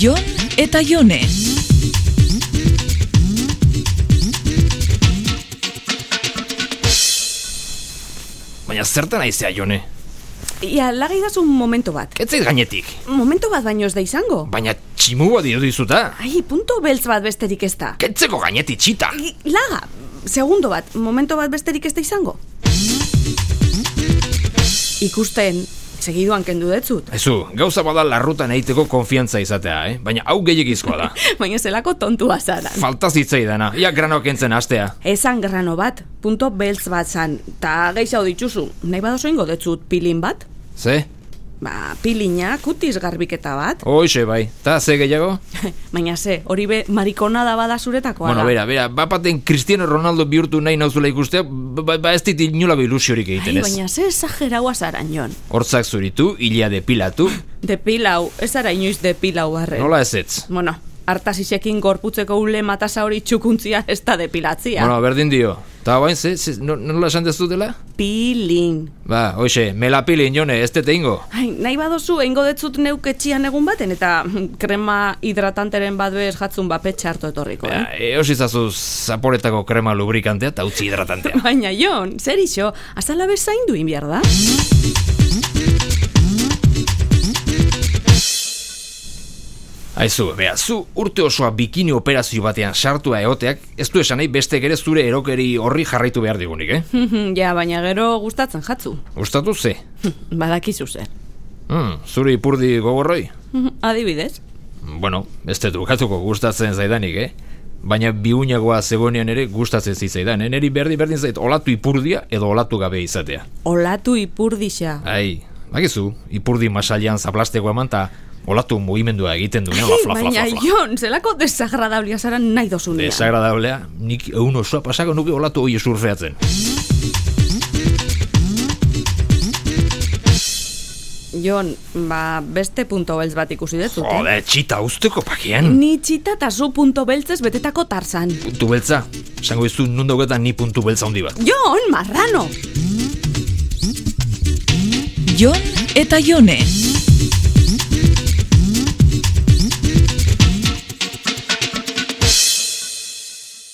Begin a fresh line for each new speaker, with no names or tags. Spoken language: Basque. Jon eta Jone.
Baina zertan aizea, Jone?
Ia, lagai dazun momento bat.
Ketzait gainetik.
Momento bat baino ez da izango.
Baina tximu bat irudizuta.
Ai, punto beltz bat besterik ez da.
Ketzeko gainetik txita.
I- Laga, segundo bat, momento bat besterik ez da izango. Ikusten, segiduan kendu detzut.
Aizu, gauza bada larrutan egiteko konfiantza izatea, eh? Baina hau gehiagizkoa da.
Baina zelako tontua zara.
Falta zitzaidana, ia granok entzen astea.
Esan grano bat, punto beltz bat zan, ta gehiago dituzu. Nahi badozu ingo detzut pilin bat?
Ze?
Ba, pilina, kutiz garbiketa bat.
Hoxe bai, ta ze gehiago?
Baina ze, hori be marikonada bada zuretakoa
Bueno,
da.
bera, bera, bapaten Cristiano Ronaldo bihurtu nahi nauzula ikustea, ba, ba ez dit inolako ilusiorik
Ai,
egiten ez.
baina ze esageraua zara, Jon.
Hortzak zuritu, hilea depilatu,
Depilau, ez zara inoiz depilau barre.
nola ez ez?
Bueno, hartasisekin gorputzeko ule matasa hori txukuntzia ez da depilatzia.
Bueno, berdin dio. Ta guain, ze, ze, no- nola esan dezutela?
Pilin.
Ba, hoxe, melapilin jone, ez dete ingo.
Ai, nahi badozu, eingo detzut neuk etxian egun baten, eta mm, krema hidratanteren bat bez jatzun bape txarto etorriko, eh?
Ba, eos izazu zaporetako krema lubrikantea eta utzi hidratantea.
Baina, Jon, zer iso, azala bezaindu inbiar da?
Aizu, bea, zu urte osoa bikini operazio batean sartua egoteak, ez du esan nahi beste ere zure erokeri horri jarraitu behar digunik, eh?
Hm. ja, baina gero gustatzen jatzu.
Gustatu ze?
Badakizu zer.
Hmm, zuri ipurdi gogorroi?
Adibidez?
Bueno, ez dut ukatuko gustatzen zaidanik, eh? Baina biunagoa zegonean ere gustatzen zitzaidan, eh? neri berdi berdin zait olatu ipurdia edo olatu gabe izatea.
Olatu ipurdisa.
Ai, bakizu, ipurdi masailan zaplasteko eman ta olatu mugimendua egiten du, eh? nola fla, fla,
baina,
fla, fla.
Jon, zelako desagradablia zara nahi dozunean.
Desagradablea, nik egun osoa pasako nuke olatu hori surfeatzen.
Jon, ba, beste punto beltz bat ikusi dezut, eh?
Jode, txita, usteko pakian.
Ni txita eta zu punto beltzez betetako tarzan.
Puntu beltza, esango izu nun dauketan ni puntu beltza handi bat.
Jon, marrano!
Jon eta Jone.